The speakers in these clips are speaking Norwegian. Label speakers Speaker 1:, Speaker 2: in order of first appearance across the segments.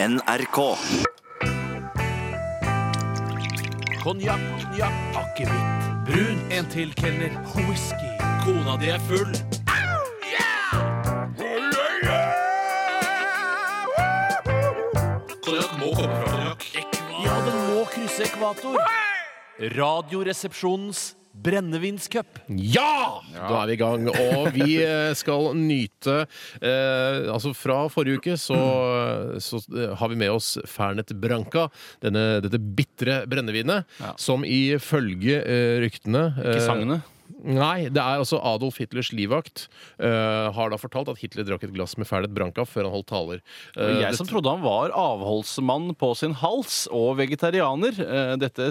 Speaker 1: NRK.
Speaker 2: Konjakk, konjakk, akevitt, brun, en til kelner, whisky, kona di er full. Konjakk må komme fra konjakk. Ja, den må krysse ekvator. Radioresepsjonens brennevinscup.
Speaker 3: Ja! Da er vi i gang. Og vi eh, skal nyte eh, Altså, fra forrige uke så, så eh, har vi med oss Fernet Branca. Denne, dette bitre brennevinet som ifølge eh, ryktene eh,
Speaker 4: sangene.
Speaker 3: Nei, det er altså Adolf Hitlers livvakt eh, har da fortalt at Hitler drakk et glass med Fernet Branca før han holdt taler. Eh,
Speaker 4: Det var Jeg som trodde han var avholdsmann på sin hals og vegetarianer. Eh, Dette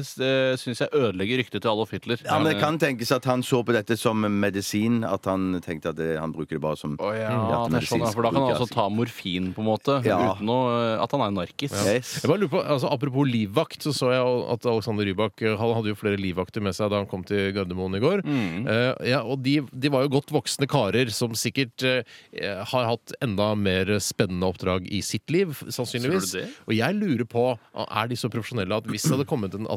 Speaker 4: syns jeg ødelegger ryktet til Adolf Hitler.
Speaker 5: Ja, men Det kan tenkes at han så på dette som medisin. At han tenkte at det, han bruker det bare som oh,
Speaker 4: Ja, det er sånn, ja, for da kan han altså ta morfin, på en måte,
Speaker 5: Ja.
Speaker 4: uten å, eh, at han er narkis.
Speaker 5: yes.
Speaker 3: Jeg bare lurer på, altså Apropos livvakt, så så jeg at Alexander Rybak eh, han hadde jo flere livvakter med seg da han kom til Gardermoen i går.
Speaker 4: Mm.
Speaker 3: Eh, ja, og de, de var jo godt voksne karer som sikkert eh, har hatt enda mer spennende oppdrag i sitt liv, sannsynligvis.
Speaker 4: Tror du det?
Speaker 3: Og jeg lurer på, er de så profesjonelle at hvis det hadde kommet en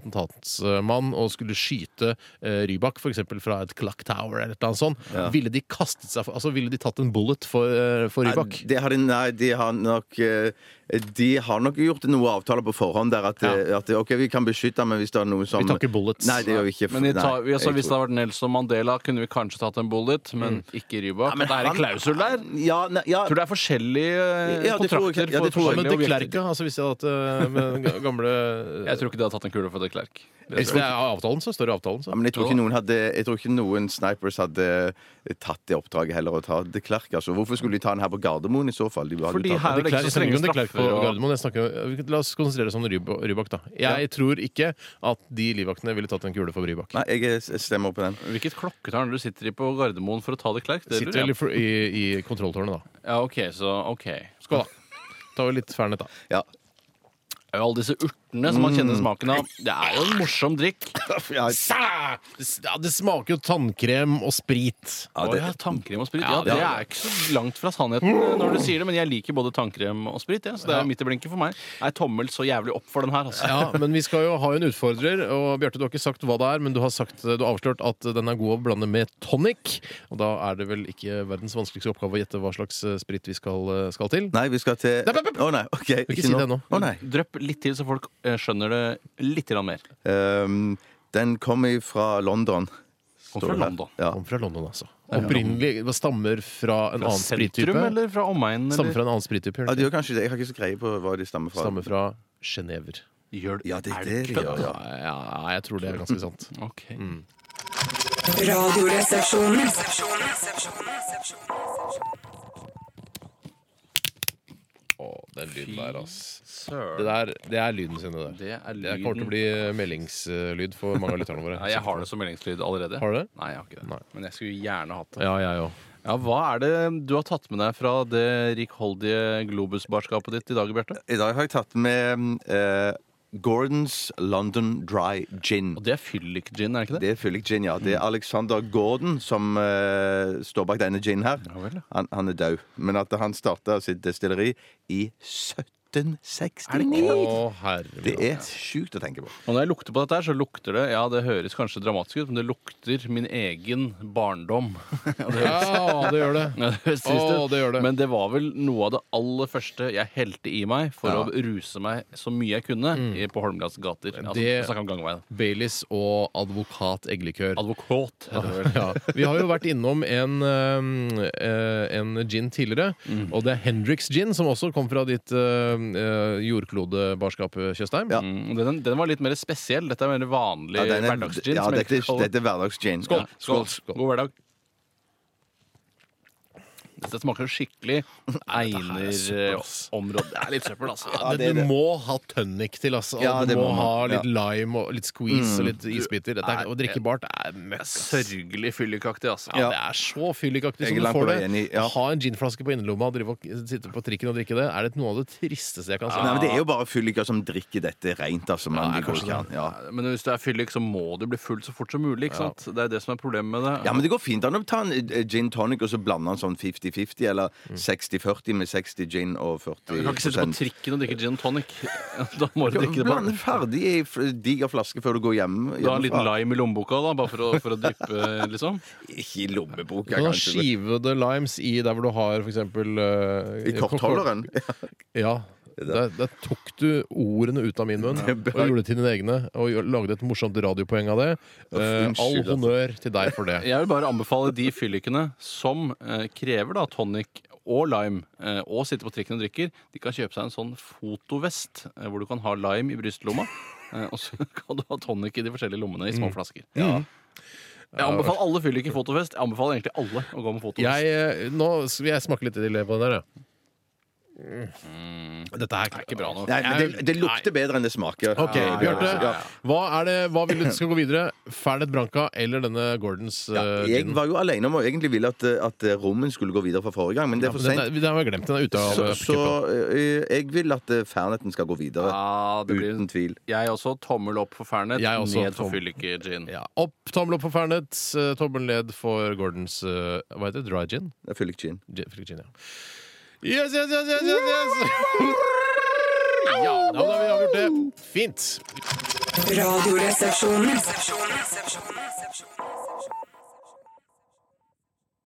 Speaker 3: attentatsmann og skulle skyte eh, Rybak, f.eks. fra et Clock Tower eller et eller annet sånt, ville de kastet seg for, altså ville de tatt en bullet for, eh, for
Speaker 5: Nei,
Speaker 3: Rybak?
Speaker 5: det har de, nei, de har nok eh, De har nok gjort noen avtaler på forhånd der at, eh, at OK, vi kan beskytte, men hvis det er noe som
Speaker 3: Vi tar ikke bullets.
Speaker 5: Nei, det gjør vi ikke.
Speaker 4: Men i ta,
Speaker 5: Nei,
Speaker 4: vi- altså,
Speaker 5: jeg
Speaker 4: Hvis det
Speaker 5: tror-
Speaker 4: hadde vært Nelson Mandela, kunne vi kanskje tatt en bullet, Mm. men ikke Rybak. det er en klausul der.
Speaker 5: Ja, nei, ja,
Speaker 4: Tror du det er forskjellige eh,
Speaker 5: Ja, det tror jeg- ja,
Speaker 4: kontrakter?
Speaker 5: det tror jeg.
Speaker 4: for
Speaker 3: Men
Speaker 4: forskjellige
Speaker 3: de
Speaker 4: objekter?
Speaker 3: Klerka, altså hvis jeg hadde hatt eh, med den gamle
Speaker 4: Jeg tror ikke de hadde tatt en kule for de Klerk. Det
Speaker 3: Hvis det er avtalen, så står det i avtalen.
Speaker 5: ja,
Speaker 3: Så.
Speaker 5: men jeg tror, ikke noen hadde, jeg tror ikke noen snipers hadde eh, tatt det oppdraget heller. Å ta de Klerk, altså. Hvorfor skulle de ta den her på Gardermoen i så fall? De hadde jo
Speaker 4: Fordi
Speaker 5: tatt den.
Speaker 4: her- er
Speaker 3: De
Speaker 4: det ikke
Speaker 3: Klerk, jeg
Speaker 4: så
Speaker 3: snakker
Speaker 4: strenge
Speaker 3: ikke om de Klerk på
Speaker 4: straffer og-
Speaker 3: Gardermoen. Jeg snakker, om- la oss konsentrere oss om Ryb- Rybak, da. Jeg tror ikke at de livvaktene ville tatt en kule for Rybak.
Speaker 5: Nei, jeg er- jeg stemmer på den.
Speaker 4: Hvilket klokketall er det du sitter i på Gardermoen for å ta de Klerk? Det lurer
Speaker 3: Sitter
Speaker 4: jeg
Speaker 3: vel i, fr- i, i kontrolltårnet, da.
Speaker 4: på. Ja, ok, så ok.
Speaker 3: Skål, da. Ta vel litt Fernet, da.
Speaker 5: Ja.
Speaker 4: Det er jo alle disse urtene som man kjenner smaken av. Det er jo en morsom drikk.
Speaker 3: Sæ! Det s- Ja, det smaker jo tannkrem og sprit.
Speaker 4: Å
Speaker 5: det-
Speaker 4: ja, tannkrem og sprit. Ja, det er ikke så langt fra sannheten når du sier det, men jeg liker både tannkrem og sprit, ja, så det er midt i blinken for meg. Jeg er tommel så jævlig opp for den her, altså.
Speaker 3: Ja, men vi skal jo ha en utfordrer, og Bjarte, du har ikke sagt hva det er, men du har, sagt, du har avslørt at den er god å blande med tonic. Og da er det vel ikke verdens vanskeligste oppgave å gjette hva slags eh, sprit vi skal, eh, skal til.
Speaker 5: Nei, vi skal til
Speaker 3: Nei, nei, nei.
Speaker 5: Å nei, ok.
Speaker 3: Ikke si det nå.
Speaker 5: Å nei.
Speaker 4: Drøpp litt til, så folk eh, skjønner det litt grann mer.
Speaker 5: Ehm, den kommer fra London.
Speaker 4: Kom fra
Speaker 5: det her.
Speaker 4: London.
Speaker 5: Ja.
Speaker 3: Kom fra London, altså. Opprinnelig det stammer fra en
Speaker 4: Fra
Speaker 3: annen sprittype.
Speaker 4: sentrum eller fra omegnen?
Speaker 3: Stammer
Speaker 4: Eller?
Speaker 3: fra en annen sprittype.
Speaker 5: ja,
Speaker 3: gjør
Speaker 5: de
Speaker 3: det
Speaker 5: gjør kanskje det. Jeg har ikke så greie på hva de stammer
Speaker 3: ikke?
Speaker 5: fra.
Speaker 3: Stammer fra Genever.
Speaker 4: Gjør
Speaker 5: Ja, det
Speaker 4: Er
Speaker 5: er det de gjør, ja.
Speaker 3: Ja, jeg tror det er ganske sant.
Speaker 4: Ok.
Speaker 3: Mm.
Speaker 6: Radioresepsjonen.
Speaker 3: Å, den lyden der, ass. Det,
Speaker 4: Søren.
Speaker 3: der, det er lyden sin, det der.
Speaker 4: Det er
Speaker 3: Det kommer til å bli eh, meldingslyd for mange av lytterne våre.
Speaker 4: Nei, jeg har det som meldingslyd allerede.
Speaker 3: Har du det?
Speaker 4: Nei, jeg har ikke det.
Speaker 3: Nei.
Speaker 4: Men jeg skulle gjerne hatt det.
Speaker 3: Ja, jeg òg.
Speaker 4: Ja, Hva er det du har tatt med deg fra det rikholdige globusbarskapet ditt i dag, Bjarte?
Speaker 5: I dag har jeg tatt med eh, Gordons London Dry Gin.
Speaker 4: Og det er fyllik-gin, er det ikke det?
Speaker 5: Det er fyllik gin, ja. Det er Alexander Gordon som eh, står bak denne ginen her.
Speaker 4: Ja vel, ja.
Speaker 5: Han, han er død. Men at han starta sitt destilleri i 1769
Speaker 3: Å, herre
Speaker 5: Det er sjukt å tenke på.
Speaker 4: Og når jeg lukter på dette her, så lukter det Ja, det høres kanskje dramatisk ut, men det lukter min egen barndom.
Speaker 3: Ja, det gjør det.
Speaker 4: Ja, det høres trist
Speaker 3: Åh,
Speaker 4: ut.
Speaker 3: det gjør det.
Speaker 4: Men det var vel noe av det aller første jeg helte i meg for å ruse meg så mye jeg kunne i- på Holmlands gater. Altså,
Speaker 3: Det-
Speaker 4: jeg snakker om gangveien.
Speaker 3: Baileys og advokat eggelikør.
Speaker 4: Advokat, heter det vel.
Speaker 3: ja. Vi har jo vært innom en, eh, eh, en gin tidligere,
Speaker 5: Mm.
Speaker 3: og det er Hendrix gin, som også kom fra ditt eh, eh, jordklodebarskap, Tjøstheim.
Speaker 5: Ja.
Speaker 4: Mm, den, den var litt mer spesiell. Dette er mer vanlig
Speaker 5: Ja, den er-
Speaker 4: hverdagsgin.
Speaker 5: ja,
Speaker 4: som jeg
Speaker 5: dette,
Speaker 4: liker å
Speaker 5: er-
Speaker 4: kalle det.
Speaker 5: dette er hverdagsgin.
Speaker 4: Skål.
Speaker 5: Ja.
Speaker 4: Skål. God hverdag. Dette smaker skikkelig eh, Einer-område. Det er litt søppel, altså.
Speaker 3: Ja, det, du må ha tønnik til, altså. Og
Speaker 5: Ja,
Speaker 3: du
Speaker 5: Mm. det
Speaker 3: må,
Speaker 5: må man.
Speaker 3: ha litt lime og litt squeeze og litt isbiter. Dette er,
Speaker 4: Nei,
Speaker 3: og drikkebart er møkk. ass.
Speaker 4: Sørgelig fyllikaktig, altså.
Speaker 3: Ja, det er så fyllikaktig
Speaker 5: Jeg
Speaker 3: som
Speaker 5: er
Speaker 3: du
Speaker 5: langt
Speaker 3: får
Speaker 5: på
Speaker 3: det.
Speaker 5: vei enig, ja.
Speaker 3: Ha en ginflaske på innerlomma og drive og sitte på trikken og drikke det, er det noe av det tristeste jeg kan si.
Speaker 5: Nei, men Det er jo bare fylliker som drikker dette rent. Altså, man, det går ikke an. Ja.
Speaker 4: Men hvis du er fyllik, så må du bli full så fort som mulig. ikke sant? Det er det som er problemet med det.
Speaker 5: ja, men det går fint an å ta en eh, gin tonic og så blande den sånn 50-50, eller 60-40 med 60 gin og 40
Speaker 4: Du kan ikke sitte på trikken og drikke gin og tonic. Da må du drikke det på
Speaker 5: Blande ferdig i f- diger flaske før du går hjem.
Speaker 4: Du har en liten
Speaker 5: hjemmefra.
Speaker 4: lime i lommeboka, da, bare for å, for å dryppe, liksom.
Speaker 5: Ikke i lommeboka,
Speaker 3: Du kan ha
Speaker 5: kanskje.
Speaker 3: skivede limes i der hvor du har f.eks.
Speaker 5: I kortholderen.
Speaker 3: eh, Ja. Der, der tok du ordene ut av min munn og gjorde det til dine egne. Og gjør- lagde et morsomt radiopoeng av det. Eh,
Speaker 5: unnskyld,
Speaker 3: all
Speaker 5: altså.
Speaker 3: honnør til deg for det.
Speaker 4: Jeg vil bare anbefale de fyllikene som eh, krever da tonic og lime, eh, og sitter på trikken og drikker, de kan kjøpe seg en sånn fotovest eh, hvor du kan ha lime i brystlomma. eh, Og så kan du ha tonic i de forskjellige lommene i
Speaker 3: Mm.
Speaker 4: små flasker. Jeg anbefaler alle fylliker fotovest. Jeg anbefaler egentlig alle å gå med fotovest.
Speaker 3: Jeg, eh, nå skal jeg smake litt til på den der, jeg. Dette her
Speaker 4: Mm. Det er ikke bra nok.
Speaker 5: Nei, men det, det lukter bedre enn det smaker.
Speaker 3: Ok,
Speaker 5: Ja, ja,
Speaker 3: Bjarte.
Speaker 5: ja.
Speaker 3: Hva, er det, hva vil du skal gå videre? Fernet Branca eller denne Gordons
Speaker 5: Ja,
Speaker 3: eh,
Speaker 5: jeg
Speaker 3: gin?
Speaker 5: var jo alene om å egentlig ville at, at rommen skulle gå videre fra forrige gang, men det er for
Speaker 3: Den,
Speaker 5: seint.
Speaker 3: er- den har jeg glemt. Den er ute av
Speaker 5: Så,
Speaker 3: eh,
Speaker 5: så
Speaker 3: pickupen.
Speaker 5: eh, jeg vil at eh, Ferneten skal gå videre.
Speaker 4: Ja, det blir
Speaker 5: Uten tvil.
Speaker 4: Jeg også. Tommel opp for Fernet,
Speaker 3: Jeg også,
Speaker 4: ned for
Speaker 3: tom-
Speaker 4: fylliker-gin.
Speaker 3: ja, opp, tommel opp for Fernet. eh, Tommel ned for Gordons eh, Hva heter det? Dry gin?
Speaker 5: Det er Fyllik gin.
Speaker 3: Gin- Fyllik gin, ja. Yes, yes, yes, yes, yes, yes! Ja, da har vi avgjort det. Fint.
Speaker 1: Radioresepsjonen.